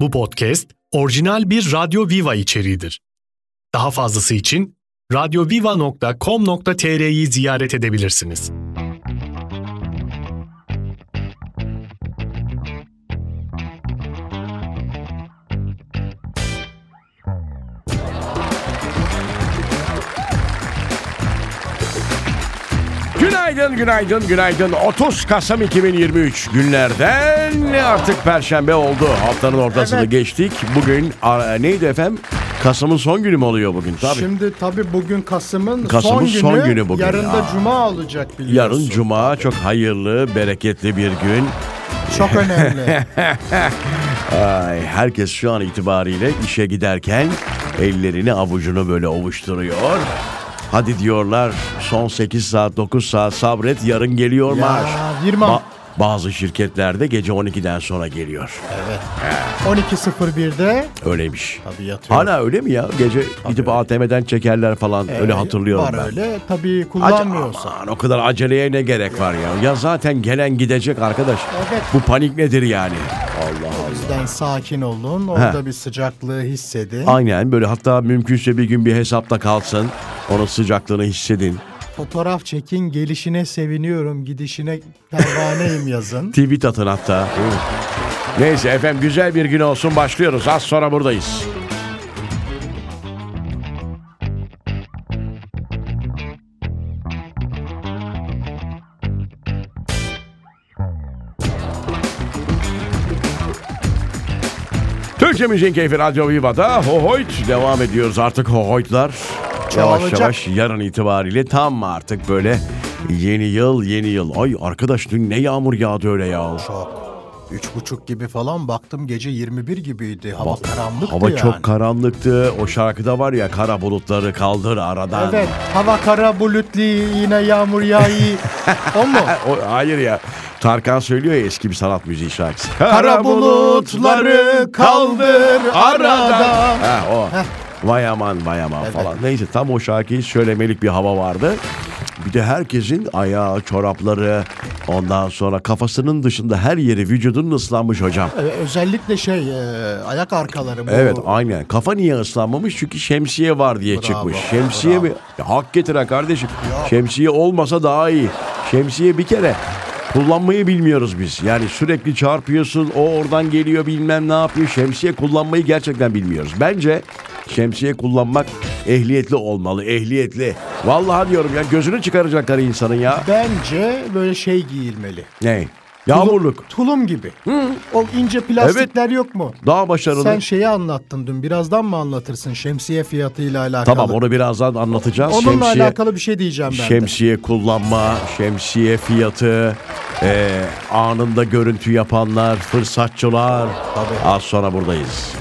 Bu podcast orijinal bir Radyo Viva içeriğidir. Daha fazlası için radyoviva.com.tr'yi ziyaret edebilirsiniz. Günaydın, günaydın, günaydın. 30 Kasım 2023 günlerden artık Perşembe oldu. Haftanın ortasını geçtik. Bugün a, neydi efendim? Kasım'ın son günü mü oluyor bugün? Tabii. Şimdi tabii bugün Kasım'ın, Kasım'ın son günü. son günü bugün. Yarın da Aa. Cuma olacak biliyorsun. Yarın Cuma çok hayırlı, bereketli bir gün. Çok önemli. Ay, herkes şu an itibariyle işe giderken ellerini avucunu böyle ovuşturuyor. Hadi diyorlar son 8 saat 9 saat sabret yarın geliyor Ya, maaş. Yirmi- Ba- bazı şirketlerde gece 12'den sonra geliyor. 12.01'de Öyleymiş. tabii yatıyor. Hala öyle mi ya? Gece gidip ATM'den çekerler falan öyle hatırlıyorum Ee, Var ben. öyle. Tabii Ace- kullanmıyorsa. Aman, o kadar aceleye ne gerek var ya? Ya zaten gelen gidecek arkadaş. Evet. Bu panik nedir yani? Allah O Allah. yüzden sakin olun. Orada bir sıcaklığı hissedin. Aynen böyle hatta mümkünse bir gün bir hesapta kalsın. Onun sıcaklığını hissedin. Fotoğraf çekin. Gelişine seviniyorum. Gidişine pervaneyim yazın. Tweet atın hatta. Neyse efendim güzel bir gün olsun başlıyoruz. Az sonra buradayız. Türkçe Müziğin Keyfi Radyo Viva'da Hohoyt devam ediyoruz artık Hohoytlar. Yavaş Çoğalacak. yavaş yarın itibariyle tam artık böyle yeni yıl yeni yıl. Ay arkadaş dün ne yağmur yağdı öyle ya. Çok. Üç buçuk gibi falan baktım gece 21 gibiydi. Hava Bak, karanlıktı Hava yani. çok karanlıktı. O şarkıda var ya kara bulutları kaldır aradan. Evet. Hava kara bulutlu yine yağmur yağıyor. o mu? O, hayır ya. Tarkan söylüyor ya eski bir sanat müziği şarkısı. Kara bulutları kaldır arada. Ha, o. Vay aman vay aman falan. Neyse tam o şarkıyı söylemelik bir hava vardı. Bir de herkesin ayağı, çorapları, ondan sonra kafasının dışında her yeri vücudunun ıslanmış hocam. Ee, Özellikle şey e, ayak arkaları bu. Evet aynen. Kafa niye ıslanmamış? Çünkü şemsiye var diye çıkmış. Şemsiye mi? Ya, hak getire kardeşim. Şemsiye olmasa daha iyi. Şemsiye bir kere kullanmayı bilmiyoruz biz. Yani sürekli çarpıyorsun. O oradan geliyor bilmem ne yapıyor. Şemsiye kullanmayı gerçekten bilmiyoruz. Bence şemsiye kullanmak ehliyetli olmalı. Ehliyetli. Vallahi diyorum ya gözünü çıkaracaklar insanın ya. Bence böyle şey giyilmeli. Ne? Yağmurluk. Tulum, tulum gibi. O ince plastikler yok mu? Daha başarılı. Sen şeyi anlattın dün. Birazdan mı anlatırsın şemsiye fiyatıyla alakalı? Tamam onu birazdan anlatacağız. Onunla Şemsiye- alakalı bir şey diyeceğim ben de. Şemsiye kullanma, şemsiye fiyatı, eee, anında görüntü yapanlar, fırsatçılar. Tabii. Az sonra buradayız.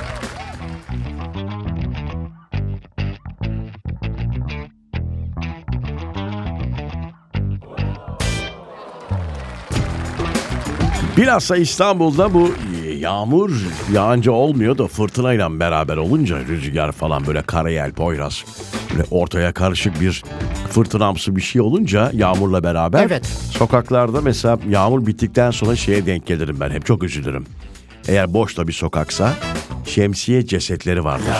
Bilhassa İstanbul'da bu yağmur yağınca olmuyor da fırtınayla beraber olunca rüzgar falan böyle karayel, poyraz böyle ortaya karışık bir fırtınamsı bir şey olunca yağmurla beraber Evet. sokaklarda mesela yağmur bittikten sonra şeye denk gelirim ben hep çok üzülürüm. Eğer boş da bir sokaksa şemsiye cesetleri vardır.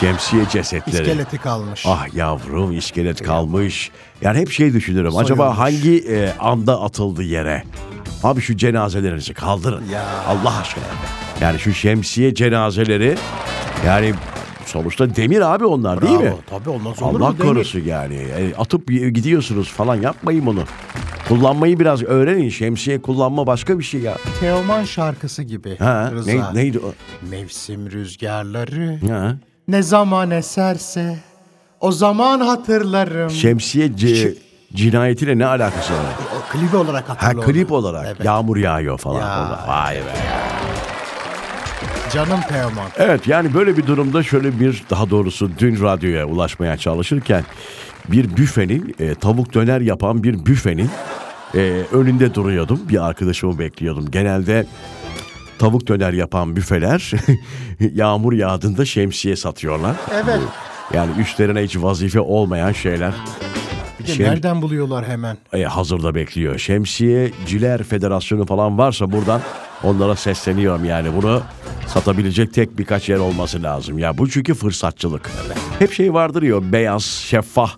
Şemsiye cesetleri. İskeleti kalmış. Ah yavrum iskelet kalmış. Yani hep şey düşünürüm. Acaba hangi e, anda atıldı yere? Abi şu cenazelerinizi kaldırın. Allah aşkına. Yani şu şemsiye cenazeleri yani sonuçta demir abi onlar değil mi? Bravo. Tabii olmaz olur Allah mu? Demir. korusun yani. E, atıp gidiyorsunuz falan yapmayın bunu. Kullanmayı biraz öğrenin. Şemsiye kullanma başka bir şey ya. Teoman şarkısı gibi. Ha, Rıza. ne, neydi o? Mevsim rüzgarları Ha. ne zaman eserse o zaman hatırlarım. Şey- Şemsiye c- cinayetiyle ne alakası var? O klip olarak Ha hatırla onu. klip olarak Evet. yağmur yağıyor falan. Ya. Vallahi, Vay be. Canım Teoman. Evet yani böyle bir durumda şöyle bir daha doğrusu dün radyoya ulaşmaya çalışırken bir büfenin e, tavuk döner yapan bir büfenin e, önünde duruyordum. Bir arkadaşımı bekliyordum. Genelde tavuk döner yapan büfeler yağmur yağdığında şemsiye satıyorlar. Evet. Yani üstlerine hiç vazife olmayan şeyler. Bir de Şem- nereden buluyorlar hemen? e, hazırda bekliyor. Şemsiyeciler Federasyonu falan varsa buradan onlara sesleniyorum yani bunu Satabilecek tek birkaç yer olması lazım. Ya bu çünkü fırsatçılık. Hep şey vardır ya beyaz, şeffaf.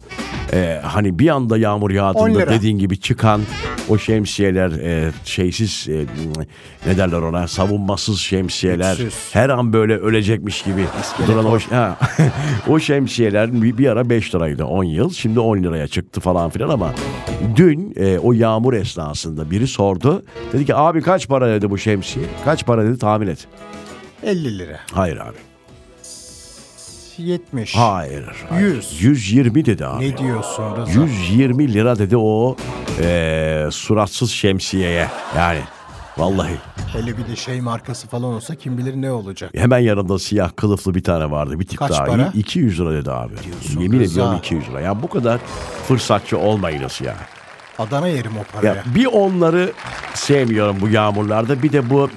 Ee, hani bir anda yağmur 10 yağdığında lira. dediğin gibi çıkan o şemsiyeler e, şeysiz e, ne derler ona savunmasız şemsiyeler Güçsüz. her an böyle ölecekmiş gibi duran o, ha, o şemsiyeler bir, bir ara 5 liraydı 10 yıl şimdi 10 liraya çıktı falan filan ama dün e, o yağmur esnasında biri sordu dedi ki abi kaç para dedi bu şemsiye kaç para dedi tahmin et 50 lira. hayır abi 70. hayır, hayır. Yüz. 120 dedi abi Ne diyorsun Rıza? 120 lira dedi o e, suratsız şemsiyeye yani vallahi Hele bir de şey markası falan olsa kim bilir ne olacak. Hemen yanında siyah kılıflı bir tane vardı. Bir tip Kaç daha para? iyi. 200 lira dedi abi. Yemin Rıza. ediyorum 200 lira. Ya bu kadar fırsatçı olmayınız ya. Adana yerim o paraya. Ya bir onları sevmiyorum bu yağmurlarda. Bir de bu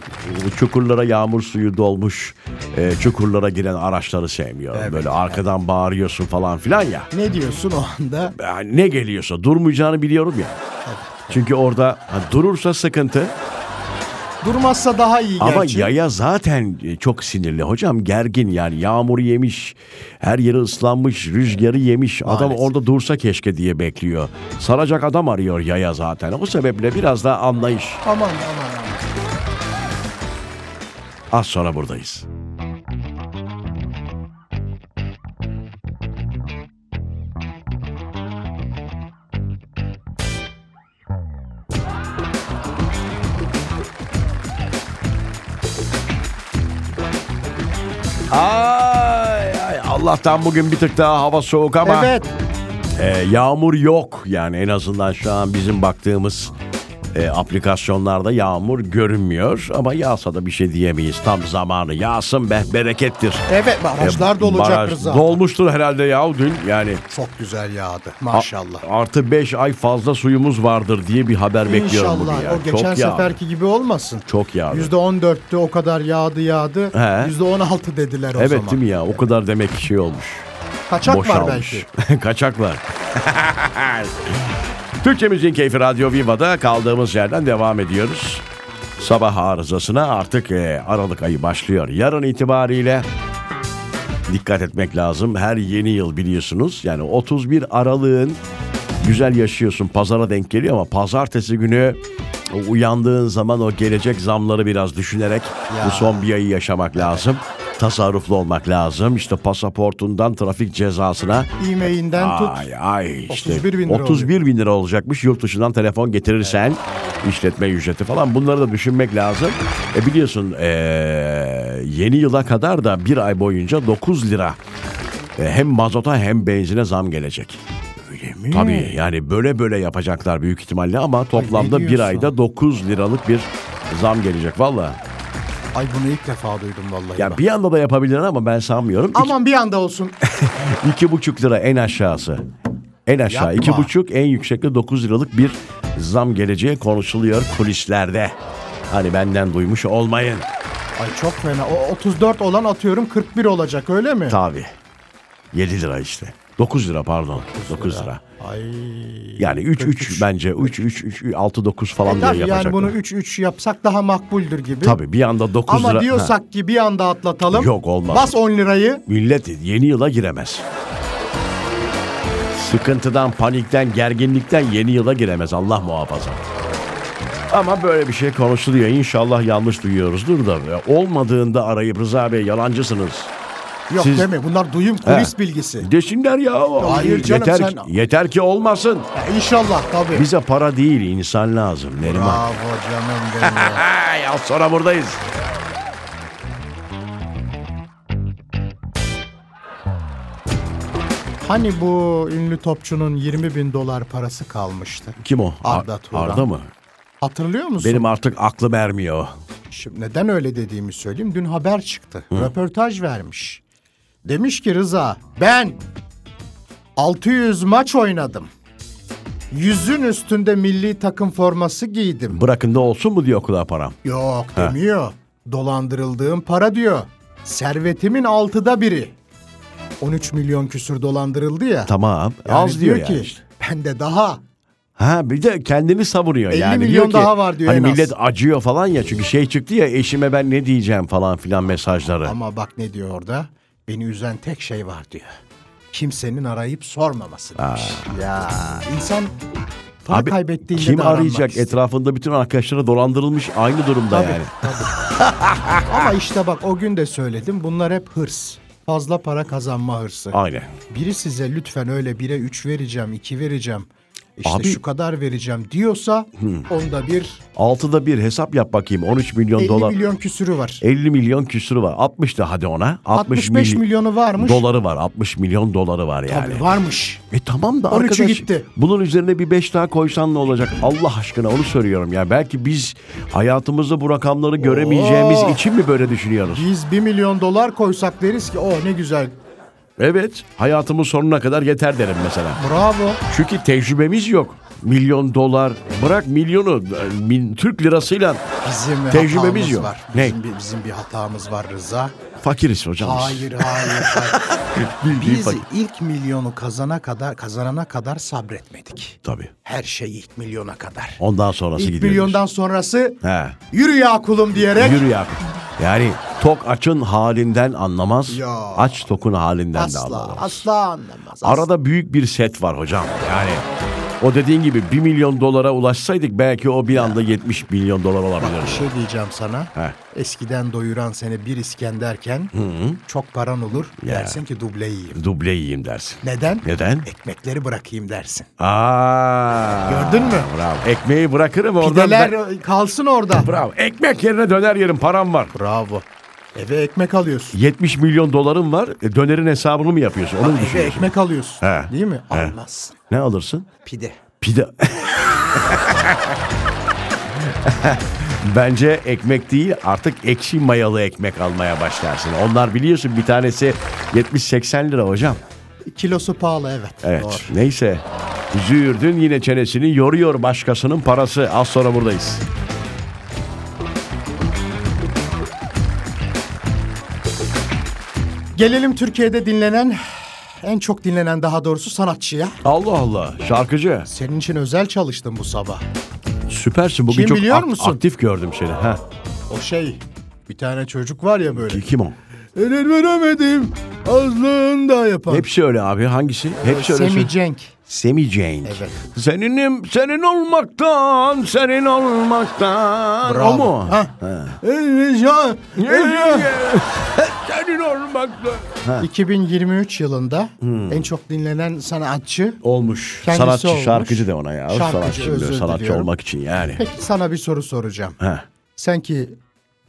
çukurlara yağmur suyu dolmuş e, çukurlara giren araçları sevmiyorum. Evet, Böyle arkadan bağırıyorsun falan filan ya. Ne diyorsun o anda? Ya Ne geliyorsa durmayacağını biliyorum ya. Çünkü orada ha, durursa sıkıntı. Durmazsa daha iyi Ama gerçi. yaya zaten e, çok sinirli. Hocam gergin yani yağmuru yemiş, her yeri ıslanmış, rüzgarı yemiş. Adam Maalesef. orada dursa keşke diye bekliyor. Saracak adam arıyor yaya zaten. O sebeple biraz daha anlayış. Aman aman aman. Az sonra buradayız. Ay, ay, Allah'tan bugün bir tık daha hava soğuk ama Evet. e, yağmur yok. Yani en azından şu an bizim baktığımız e, aplikasyonlarda yağmur görünmüyor. Ama yağsa da bir şey diyemeyiz. Tam zamanı yağsın be berekettir. E, Evet barajlar dolacak Baraj Rıza. Dolmuştur herhalde ya dün yani. Çok güzel yağdı a- maşallah. Artı 5 ay fazla suyumuz vardır diye bir haber bekliyorum bugün. İnşallah ya. o geçen Çok yağdı. seferki gibi olmasın. Çok yağdı. %14'tü o kadar yağdı yağdı. He. %16 dediler o Evet zaman. değil mi ya? O kadar demek ki şey olmuş. Kaçak var Boşalmış. belki. Kaçak var. Türkçe Müziğin Keyfi Radyo Viva'da kaldığımız yerden devam ediyoruz. Sabah arızasına artık e, Aralık ayı başlıyor. Yarın itibariyle dikkat etmek lazım. Her yeni yıl biliyorsunuz yani 31 Aralık'ın güzel yaşıyorsun pazara denk geliyor ama pazartesi günü uyandığın zaman o gelecek zamları biraz düşünerek Ya. bu son bir ayı yaşamak lazım. Tasarruflu olmak lazım. İşte pasaportundan trafik cezasına. İğmeğinden tut. Ay ay işte 31 31 bin bin lira lira, olacakmış yurt dışından telefon getirirsen işletme ücreti falan bunları da düşünmek lazım. E biliyorsun e, yeni yıla kadar da bir ay boyunca 9 lira e, hem mazota hem benzine zam gelecek. Öyle mi? Tabii yani böyle böyle yapacaklar büyük ihtimalle ama toplamda bir diyorsun? ayda 9 liralık bir zam gelecek valla. Ay bunu ilk defa duydum vallahi. Ya bak. bir anda da yapabilirler ama ben sanmıyorum. İki- Aman bir anda olsun. İki buçuk lira en aşağısı. En aşağı Yapma. iki buçuk en yüksekte 9 liralık bir zam geleceği konuşuluyor kulislerde. Hani benden duymuş olmayın. Ay çok fena. O 34 olan atıyorum 41 olacak öyle mi? Tabi. 7 lira işte. 9 lira pardon. 9 lira. Ay. Yani 3 3 bence 3 3 3 6 9 falan diye E, Tabii yani yapacaklar. bunu 3-3 yapsak daha makbuldür gibi. Tabi bir anda 9 Ama lira. Ha, diyorsak ki bir anda atlatalım. Yok, olmaz. Bas 10 lirayı. millet yeni yıla giremez. Sıkıntıdan, panikten, gerginlikten yeni yıla giremez Allah muhafaza. Ama böyle bir şey konuşuluyor. İnşallah yanlış duyuyoruzdur da. Olmadığında arayıp Rıza Bey yalancısınız. Yok Siz- deme bunlar duyum kulis He. bilgisi. Desinler ya. Hayır canım, yeter, sen- ki- yeter ki olmasın. Ya inşallah tabii. Bize para değil insan lazım Neriman. Bravo canım benim. ya. Ay, az sonra buradayız. Hani bu ünlü topçunun 20 bin dolar parası kalmıştı. Kim o? Ar- Arda Turan. Arda mı? Hatırlıyor musun? Benim artık aklım ermiyor. Şimdi neden öyle dediğimi söyleyeyim. Dün haber çıktı. Röportaj vermiş. Demiş ki Rıza ben 600 maç oynadım. Yüzün üstünde milli takım forması giydim. Bırakın da olsun mu diyor kulağa param. Yok demiyor. Dolandırıldığım para diyor. Servetimin altıda biri. 13 milyon küsür dolandırıldı ya. Tamam. Yani az diyor, ki yani işte. ben de daha Ha bir de kendini savuruyor 50 yani. milyon ki, daha var diyor Hani en az. millet acıyor falan ya çünkü şey çıktı ya eşime ben ne diyeceğim falan filan mesajları. Ama bak ne diyor orada? Beni üzen tek şey var diyor. Kimsenin arayıp sormaması demiş. Ya insan para Abi, kaybettiğinde kim de aranmak arayacak istiyor. etrafında bütün arkadaşları dolandırılmış aynı durumda Tabii, yani. tabii. Ama işte bak o gün de söyledim bunlar hep hırs. Fazla para kazanma hırsı. Aynen. Biri size lütfen öyle 1'e 3 vereceğim, 2 vereceğim, işte Abi- şu kadar vereceğim diyorsa onda bir Altıda bir hesap yap bakayım 13 milyon 50 dolar. E milyon küsürü var. 50 milyon küsürü var. 60 da hadi ona. 60 65 milyon milyonu varmış. doları var. 60 milyon doları var yani. Tabii varmış. E tamam da 13'ü arkadaş gitti. bunun üzerine bir 5 daha koysan ne olacak? Allah aşkına onu söylüyorum ya. Belki biz hayatımızda bu rakamları göremeyeceğimiz Oo. için mi böyle düşünüyoruz? Biz 1 milyon dolar koysak deriz ki oh ne güzel Evet. Hayatımın sonuna kadar yeter derim mesela. bravo. Çünkü tecrübemiz yok. Milyon dolar bırak milyonu e, bin, Türk lirasıyla Bizim Tecrübemiz hatamız yok. var. Ne? Bizim, bir, bizim bir hatamız var Rıza. fakiriz hocam. biz. Hayır hayır. hayır. Bildiğin Biz fakir. ilk milyonu kazana kadar kazanana kadar sabretmedik. Tabii. Her şey ilk milyona kadar. Ondan sonrası İlk gidiyoruz. milyondan sonrası He. yürü ya kulum diyerek Yürü ya. Yani tok açın halinden anlamaz. Ya. Aç tokun halinden de asla anlamaz. asla anlamaz. asla. Arada büyük bir set var hocam. Yani o dediğin gibi 1 milyon dolara ulaşsaydık belki o bir anda 70 milyon dolar bir olabilirdi. şey diyeceğim sana. Heh. Eskiden doyuran seni bir İskenderken çok paran olur. Dersin ki duble yiyeyim. Duble yiyeyim dersin. Neden? Neden? Ekmekleri bırakayım dersin. Aa. Gördün mü? Bravo. Ekmeği bırakırım oradan. Pideler ben- kalsın orada. Bravo. Ekmek yerine döner yerim param var. Bravo. Eve ekmek alıyorsun. 70 milyon dolarım var. E, Dönerin hesabını mı yapıyorsun? Onu mu Eve düşünüyorsun? ekmek alıyorsun. şey. He. Değil mi? Almazsın. Ne alırsın? Pide. Pide. Bence ekmek değil artık ekşi mayalı ekmek almaya başlarsın. Onlar biliyorsun bir tanesi 70-80 lira hocam. Kilosu pahalı evet. Evet Doğru. neyse. Züğürdün yine çenesini yoruyor başkasının parası. Az sonra buradayız. Gelelim Türkiye'de dinlenen en çok dinlenen daha doğrusu sanatçıya. Allah Allah şarkıcı. Senin için özel çalıştım bu sabah. Süpersin bugün Kim çok biliyor ak- musun? aktif gördüm seni. Ha. O şey bir tane çocuk var ya böyle. Kim o? Erer veremedim azlığında yapan. Hepsi öyle abi hangisi? Hepsi öyle. şey. Semi Cenk. Semi Cenk. Evet. Seninim, senin olmaktan, senin olmaktan. O mu? Ha. Ee, ya- senin olmaktan. 2023 yılında Hmm. en çok dinlenen sanatçı. Olmuş. Kendisi sanatçı, olmuş. şarkıcı de ona ya. Şarkıcı, sanatçı, özür diyor, sanatçı diliyorum. olmak için yani. Peki sana bir soru soracağım. Ha. Sen ki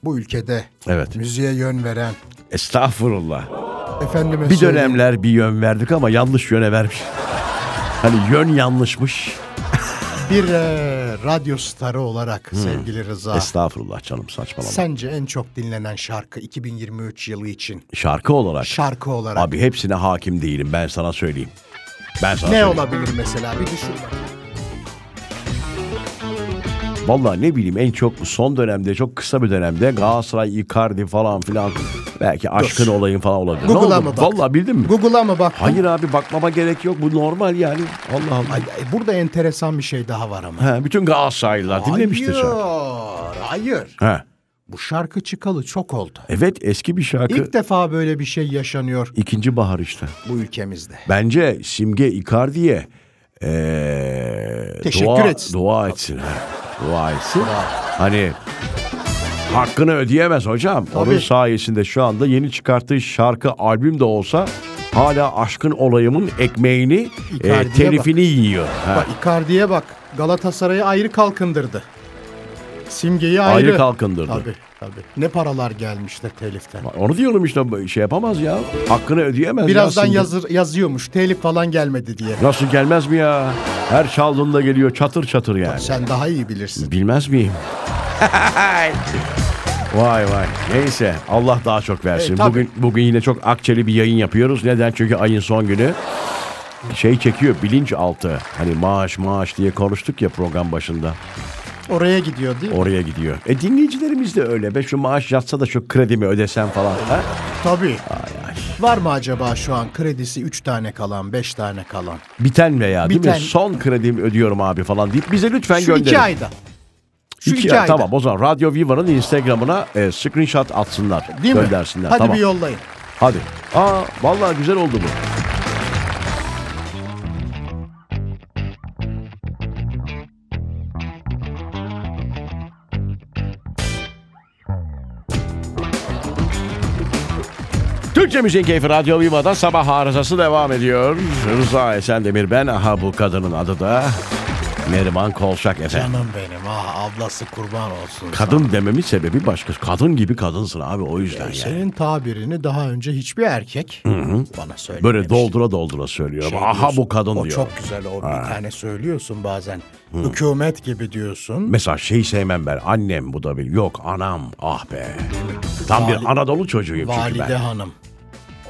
bu ülkede Evet. müziğe yön veren Estağfurullah. efendime Bir söyleyeyim, dönemler bir yön verdik ama yanlış yöne vermiş. Hani yön yanlışmış. bir e, radyo starı olarak sevgili Rıza. Hmm. Estağfurullah canım saçmalama. Sence en çok dinlenen şarkı 2023 yılı için Şarkı olarak. şarkı olarak Abi hepsine hakim değilim ben sana söyleyeyim. Ben sana ne söyleyeyim. olabilir mesela bir düşün. bakayım. Vallahi ne bileyim en çok son dönemde çok kısa bir dönemde Galatasaray, Icardi falan filan belki aşkın olayın falan olabilir. Ne Google'a oldu? mı baktın? Vallahi bildin mi? Google'a mı bak? Hayır abi bakmama gerek yok bu normal yani. Allah Allah. Ay, ay, burada enteresan bir şey daha var ama. He, bütün Galatasaraylılar dinlemiştir şarkı. E, Hayır, hayır. He. Bu şarkı çıkalı çok oldu. Evet eski bir şarkı. İlk defa böyle bir şey yaşanıyor İkinci bahar işte. bu ülkemizde. Bence Simge Icardi'ye ee, Teşekkür dua, etsin. Dua etsin. ha. Dua etsin. Hani hakkını ödeyemez hocam. Onun Tabii. sayesinde şu anda yeni çıkarttığı şarkı albüm de olsa hala aşkın olayımın ekmeğini, e, Icardi'ye telifini yiyor. Ha, Bak Icardi'ye bak. Galatasaray'ı ayrı kalkındırdı. Simge'yi ayrı. ayrı kalkındırdı. Tabii tabii. Ne paralar gelmişti teliften. Onu diyorum işte şey yapamaz ya. Hakkını ödeyemez. Birazdan ya Simge. yazır, yazıyormuş telif falan gelmedi diye. Nasıl gelmez mi ya? Her çaldığında geliyor çatır çatır yani. Sen daha iyi bilirsin. Bilmez miyim? vay vay. Neyse Allah daha çok versin. E, tabii. bugün bugün yine çok akçeli bir yayın yapıyoruz. Neden? Çünkü ayın son günü şey çekiyor bilinçaltı. Hani maaş maaş diye konuştuk ya program başında. Oraya gidiyor değil mi? Oraya gidiyor. E dinleyicilerimiz de öyle. Be şu maaş yatsa da şu kredimi ödesem falan. Ha? Tabii. Oh. Ay, Var mı acaba şu an kredisi 3 tane kalan, 5 tane kalan? Biten veya değil Biten. mi? Son kredimi ödüyorum abi falan deyip bize lütfen Şu gönderin. 2 ayda. Şu 2 İki ay- ayda. Tamam o zaman Radyo Viva'nın Instagram'ına e, screenshot atsınlar. Değil mi? göndersinler. Hadi tamam. bir yollayın. Hadi. Aa vallahi güzel oldu bu. Türkçe Müzik Keyfi Radyo Viva'da sabah arızası devam ediyor. Rıza Esendemir ben. Aha bu kadının adı da Neriman Kolşak efendim. Canım benim ah ablası kurban olsun. Kadın dememin sebebi başka. Kadın gibi kadınsın abi o yüzden yani. Senin tabirini daha önce hiçbir erkek bana söylememiş. Böyle doldura doldura söylüyorum. Şey Aha diyorsun, bu kadın o diyor. çok güzel o bir tane söylüyorsun bazen. Hükümet gibi diyorsun. Mesela şey sevmem ben. Annem bu da bir. Yok anam. Ah be. Tam Vali- bir Anadolu çocuğuyum çünkü Valide ben. hanım.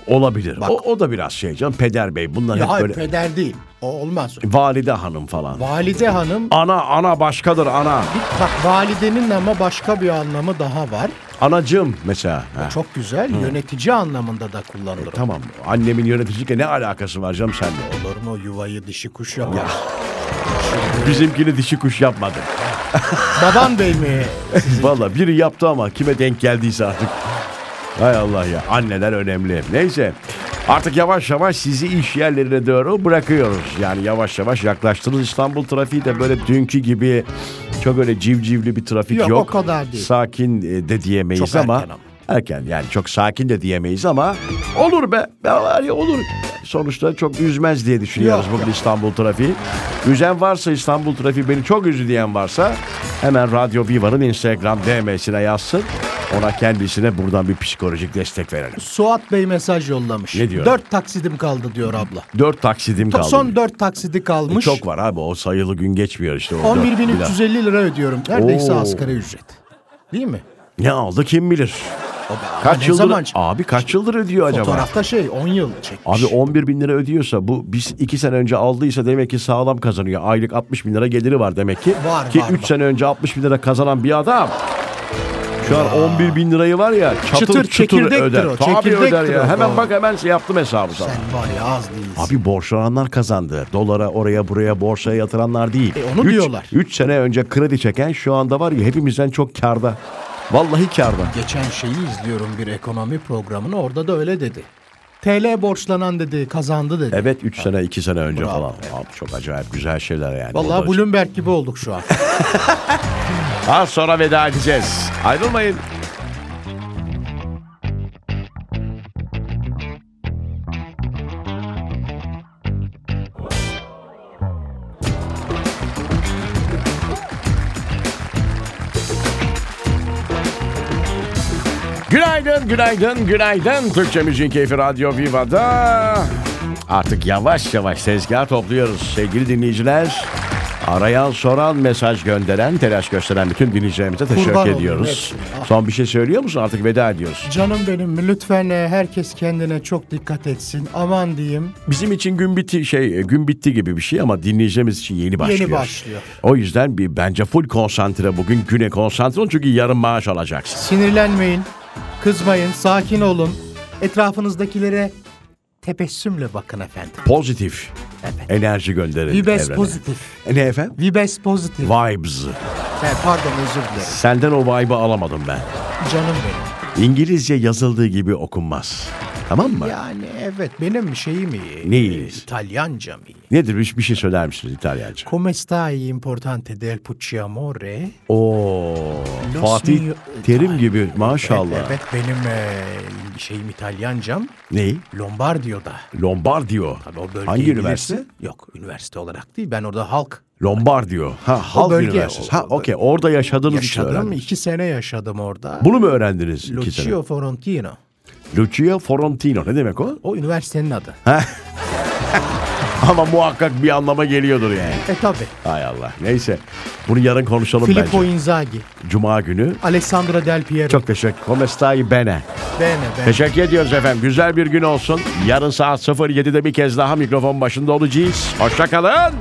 Olabilir. Bak- O, o da biraz şey canım. Peder bey. Bunlar Ya hep hayır böyle. peder değil. O olmaz. Valide hanım falan. Valide hanım ana ana başkadır ana. bak validenin ama başka bir anlamı daha var. Anacım mesela. Ha, E, Çok güzel yönetici anlamında da kullanılır. Tamam. Annemin yöneticilikle ne alakası var canım seninle? Olur mu yuvayı dişi kuş yapar. Bizimkini dişi kuş yapmadı. Baban bey mi? Valla biri yaptı ama kime denk geldiyse artık. Hay Allah ya anneler önemli. Neyse artık yavaş yavaş sizi iş yerlerine doğru bırakıyoruz. Yani yavaş yavaş yaklaştınız İstanbul trafiği de böyle dünkü gibi çok öyle civcivli bir trafik yok. Yok, o kadar değil. Sakin e, de diyemeyiz Çok ama. erken ama. Erken yani çok sakin de diyemeyiz ama olur be. be yani olur. Sonuçta çok üzmez diye düşünüyoruz Yok, bugün İstanbul trafiği. Üzen varsa İstanbul trafiği beni çok üzdü diyen varsa hemen Radyo Viva'nın Instagram DM'sine yazsın. Ona kendisine buradan bir psikolojik destek verelim. Suat Bey mesaj yollamış. Ne diyor? Dört taksidim kaldı diyor abla. Dört taksidim kaldı. E, Son dört taksidi kalmış. Çok var abi o sayılı gün geçmiyor işte. o dört. 11.350 lira ödüyorum. Neredeyse Oo. asgari ücret. Değil mi? Ne aldı kim bilir. O be, ama Kaç ne yıldır? zaman çıktı? Abi kaç yıldır ödüyor acaba? Fotoğrafta şey 10 yıl çekmiş. Abi 11 bin lira ödüyorsa bu biz 2 sene önce aldıysa demek ki sağlam kazanıyor. Aylık 60 bin lira geliri var demek ki. Var, ki var, 3 var. sene önce 60 bin lira kazanan bir adam. Şu an 11 bin lirayı var ya çatır Çıtır, çıtır, çekirdektir öder. o, Tabii çekirdektir öder ya. o. Hemen Doğru. bak hemen şey yaptım hesabı sana. Sen var ya az değilsin. Abi borçlananlar kazandı. Dolara oraya buraya borsaya yatıranlar değil. E, onu diyorlar. 3 sene önce kredi çeken şu anda var ya hepimizden çok karda. Vallahi karda. Geçen şeyi izliyorum bir ekonomi programını orada da öyle dedi. TL borçlanan dedi kazandı dedi. Evet 3 sene 2 sene önce Bravo, falan. Abi çok acayip güzel şeyler yani. Vallahi Orada- Bloomberg gibi olduk şu an. Az sonra veda edeceğiz. Ayrılmayın. Günaydın, günaydın, günaydın. Türkçe Müziğin Keyfi Radyo Viva'da. Artık yavaş yavaş tezgah topluyoruz sevgili dinleyiciler. Arayan, soran, mesaj gönderen, telaş gösteren bütün dinleyicilerimize teşekkür Kurban Ah. olayım ediyoruz. Son bir şey söylüyor musun? Artık veda ediyoruz. Canım benim lütfen e, herkes kendine çok dikkat etsin. Aman diyeyim. Bizim için gün bitti şey gün bitti gibi bir şey ama dinleyicilerimiz için yeni başlıyor. başlıyor. O yüzden bir bence full konsantre bugün güne konsantre olun çünkü yarın maaş alacaksın. Sinirlenmeyin, kızmayın, sakin olun. Etrafınızdakilere tebessümle bakın efendim. Pozitif enerji gönderin. Vibes evrene. pozitif. E, Ne efendim? Vibes pozitif. Vibes. He, pardon özür dilerim. Senden o vibe'ı alamadım ben. Canım benim. İngilizce yazıldığı gibi okunmaz. Tamam mı? Yani evet benim şeyim iyi. E, Neyiz? İtalyancam iyi. Nedir bir, bir şey söyler misiniz İtalyanca? Come stai importante del Pucciamore? Oo, Los Fatih mio- Terim gibi maşallah. Evet, evet benim e, şeyim İtalyancam Neyi? Lombardiyo'da. Lombardiyo. Tabii o bölgeyi Hangi bilirsin. üniversite? Yok üniversite olarak değil ben orada halk Lombardiyo. Ha, Halk bölge, Üniversitesi. o- Ha, o- okey. Orada yaşadığınız için yaşadım. öğrendiniz. iki sene yaşadım orada. Bunu mu öğrendiniz iki sene? Lucio Forentino. Lucia Forentino. Ne demek o? O üniversitenin adı. Ama muhakkak bir anlama geliyordur yani. E tabi. Hay Allah. Neyse. Bunu yarın konuşalım Filippo bence. Inzaghi. Cuma günü. Alessandro Del Piero. Çok teşekkür. Come stai bene. Beğene, beğene. Teşekkür ediyoruz efendim. Güzel bir gün olsun. Yarın saat 07'de bir kez daha mikrofon başında olacağız. Hoşça kalın.